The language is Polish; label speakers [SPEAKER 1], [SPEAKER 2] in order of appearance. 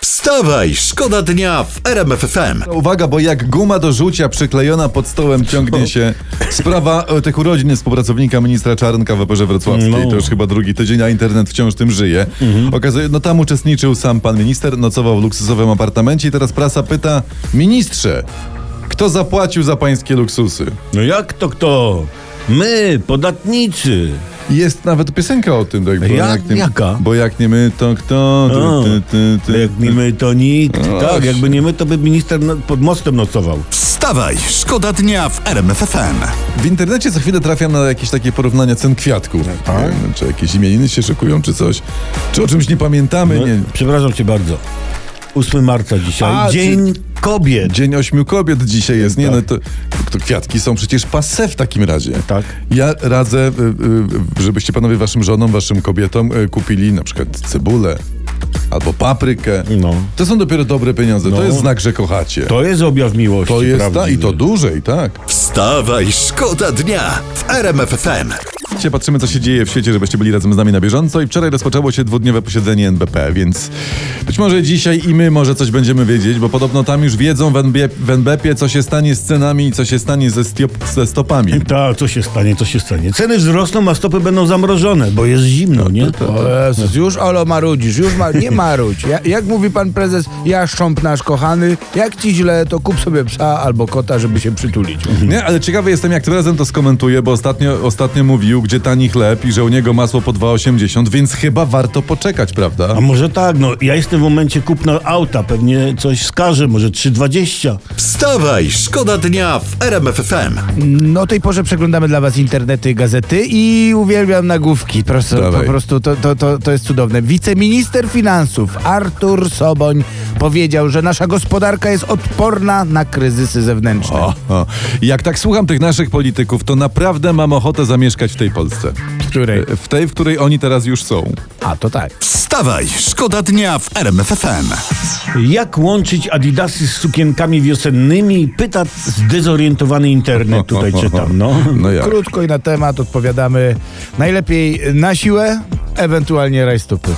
[SPEAKER 1] Wstawaj, szkoda dnia w RMF FM.
[SPEAKER 2] Uwaga, bo jak guma do żucia przyklejona pod stołem
[SPEAKER 3] No.
[SPEAKER 2] ciągnie się sprawa e, tych urodzin współpracownika ministra Czarnka w Operze Wrocławskiej.
[SPEAKER 3] No.
[SPEAKER 2] To już chyba drugi tydzień, a internet wciąż tym żyje.
[SPEAKER 3] Mhm.
[SPEAKER 2] Okazuje, no tam uczestniczył sam pan minister, nocował w luksusowym apartamencie i teraz prasa pyta, ministrze, kto zapłacił za pańskie luksusy?
[SPEAKER 3] No jak to kto? My, podatnicy.
[SPEAKER 2] I Jest nawet piosenka o tym. Tak, bo
[SPEAKER 3] Ja- jaka?
[SPEAKER 2] Bo jak nie my, to kto?
[SPEAKER 3] O,
[SPEAKER 2] Ty, ty, ty, ty.
[SPEAKER 3] Jak nie my, to nikt. Tak,
[SPEAKER 2] właśnie.
[SPEAKER 3] jakby nie my, to by minister no- pod mostem nocował.
[SPEAKER 1] Wstawaj, szkoda dnia w RMF FM.
[SPEAKER 2] W internecie za chwilę trafiam na jakieś takie porównania cen kwiatków.
[SPEAKER 3] Tak,
[SPEAKER 2] Nie wiem, Czy jakieś imieniny się szykują, czy coś. Czy o czymś nie pamiętamy?
[SPEAKER 3] No,
[SPEAKER 2] Nie.
[SPEAKER 3] Przepraszam cię bardzo. 8 marca dzisiaj.
[SPEAKER 2] A,
[SPEAKER 3] Dzień kobiet.
[SPEAKER 2] Dzień Ośmiu Kobiet dzisiaj jest. Nie, no to, to kwiatki są przecież passe w takim razie.
[SPEAKER 3] Tak.
[SPEAKER 2] Ja radzę, y, y, żebyście panowie waszym żonom, waszym kobietom y, kupili na przykład cebulę albo paprykę.
[SPEAKER 3] No.
[SPEAKER 2] To są dopiero dobre pieniądze.
[SPEAKER 3] No.
[SPEAKER 2] To jest znak, że kochacie.
[SPEAKER 3] To jest objaw miłości.
[SPEAKER 2] to jest ta,
[SPEAKER 3] prawdziwy.
[SPEAKER 2] i to dłużej, tak.
[SPEAKER 1] Wstawaj, szkoda dnia w RMF FM.
[SPEAKER 2] Dzisiaj patrzymy, co się dzieje w świecie, żebyście byli razem z nami na bieżąco. I wczoraj rozpoczęło się dwudniowe posiedzenie NBP, więc być może dzisiaj i my może coś będziemy wiedzieć, bo podobno tam już wiedzą w, NB, w NBP, co się stanie z cenami i co się stanie ze, stiop, ze stopami.
[SPEAKER 3] Tak, co się stanie, co się stanie. Ceny wzrosną, a stopy będą zamrożone, bo jest zimno,
[SPEAKER 2] Tak,
[SPEAKER 3] nie?
[SPEAKER 4] O Jezus, już Olo marudzisz, już ma, nie marudź. Ja, jak mówi pan prezes, ja szcząp nasz kochany, jak ci źle, to kup sobie psa albo kota, żeby się przytulić.
[SPEAKER 2] Nie, ale ciekawy jestem, jak Trezem to skomentuje, bo ostatnio, ostatnio mówił, gdzie tani chleb i że u niego masło po 2,80, więc chyba warto poczekać, prawda?
[SPEAKER 3] A może tak, no ja jestem w momencie kupna auta, pewnie coś skaże, może 3,20.
[SPEAKER 1] Wstawaj, szkoda dnia w RMF FM.
[SPEAKER 4] No tej porze przeglądamy dla was internety, gazety i uwielbiam nagłówki. Prosto, po
[SPEAKER 2] Dawaj.
[SPEAKER 4] prostu to, to, to, to jest cudowne. Wiceminister finansów Artur Soboń powiedział, że nasza gospodarka jest odporna na kryzysy zewnętrzne.
[SPEAKER 2] O, o. Jak tak słucham tych naszych polityków, to naprawdę mam ochotę zamieszkać w tej Polsce.
[SPEAKER 4] Której?
[SPEAKER 2] W tej, w której oni teraz już są.
[SPEAKER 4] A, to tak.
[SPEAKER 1] Wstawaj, szkoda dnia w RMF FM.
[SPEAKER 3] Jak łączyć adidasy z sukienkami wiosennymi? Pyta zdezorientowany internet, tutaj czytam, no.
[SPEAKER 2] No jak?
[SPEAKER 4] Krótko i na temat odpowiadamy najlepiej na siłę, ewentualnie rajstupy.